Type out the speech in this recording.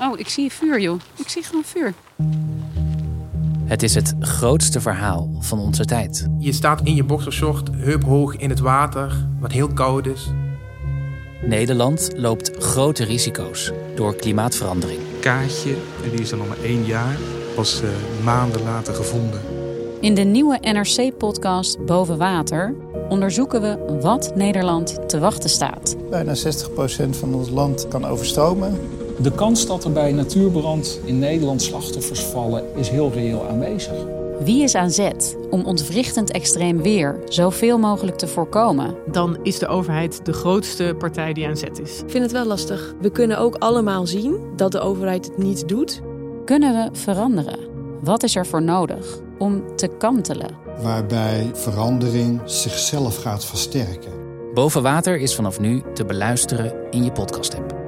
Oh, ik zie vuur, joh. Ik zie gewoon vuur. Het is het grootste verhaal van onze tijd. Je staat in je boxershort, heuphoog in het water, wat heel koud is. Nederland loopt grote risico's door klimaatverandering. Kaatje, en die is dan nog maar één jaar, was eh, maanden later gevonden. In de nieuwe NRC-podcast Boven Water onderzoeken we wat Nederland te wachten staat. Bijna 60% van ons land kan overstromen. De kans dat er bij natuurbrand in Nederland slachtoffers vallen is heel reëel aanwezig. Wie is aan zet om ontwrichtend extreem weer zoveel mogelijk te voorkomen? dan is de overheid de grootste partij die aan zet is. Ik vind het wel lastig. We kunnen ook allemaal zien dat de overheid het niet doet. Kunnen we veranderen? Wat is er voor nodig om te kantelen? Waarbij verandering zichzelf gaat versterken. Boven water is vanaf nu te beluisteren in je podcast-app.